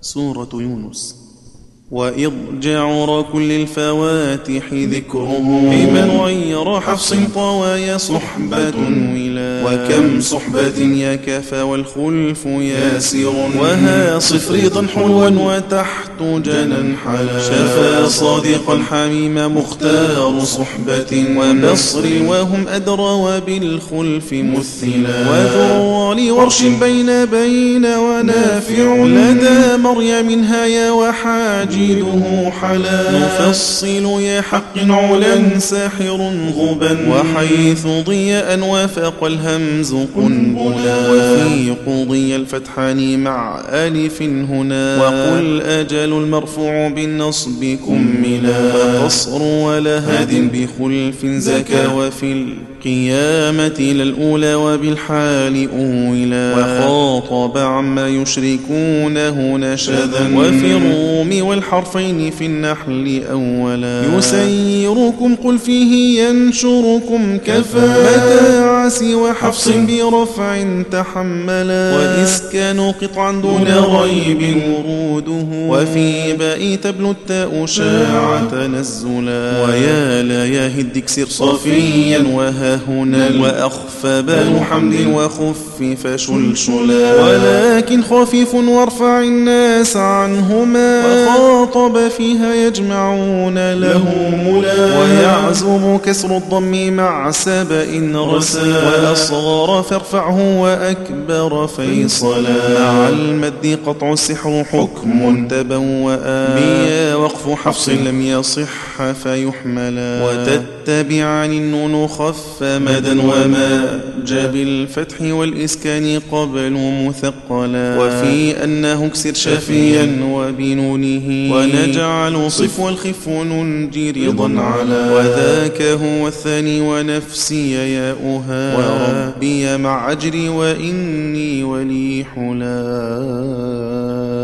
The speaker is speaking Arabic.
سورة يونس وإض جعر كل الفواتح ذكرهم بمن غير حفص طوايا صحبة ولا وكم صحبة يكف والخلف ياسر وها صفريطا حلوا وتحت جنا حلا شفا صادقا حميم مختار صحبة ونصر وهم أدرى وبالخلف مثلا وذر لورش بين بين ونافع لدى مريم هيا وحاجده حلا نفصل يا حق علا ساحر غبا وحيث ضياء وفاق الهمز قنبلا وفي قضي الفتحان مع ألف هنا وقل أجل المرفوع بالنصب كملا وقصر ولا هاد بخلف زكا وفي القيامة لا الأولى وبالحال أولا وخاطب عما يشركونه نشدا وفي الروم والحرفين في النحل أولا يسيركم قل فيه ينشركم كفى متاع سوى حفص برفع تحملا وإسكان قطعا دون ريب وروده وفي بئي تبلو التاء شاع تنزلا ويا لياه الدك سر صفيا وها هنا وأخف بل حمد وخفف شلشلا ولكن خفيف وارفع الناس عنهما وخاطب فيها يجمعون له ملا ويعزم كسر الضم مع سبأ رسا وأصغر فارفعه وأكبر فيصلا مع المد قطع السحر حكم تبوأ بيا وقف حفص لم يصح فيحملا وتتبعان النون خف مدا وما جاء بالفتح والإسكان قبل مثقلا وفي أنه اكسر شفيا وبنونه ونجعل صف والخف ننجي رضا على وذاك هو الثاني ونفسي ياؤها وربي مع أجري وإني ولي حلا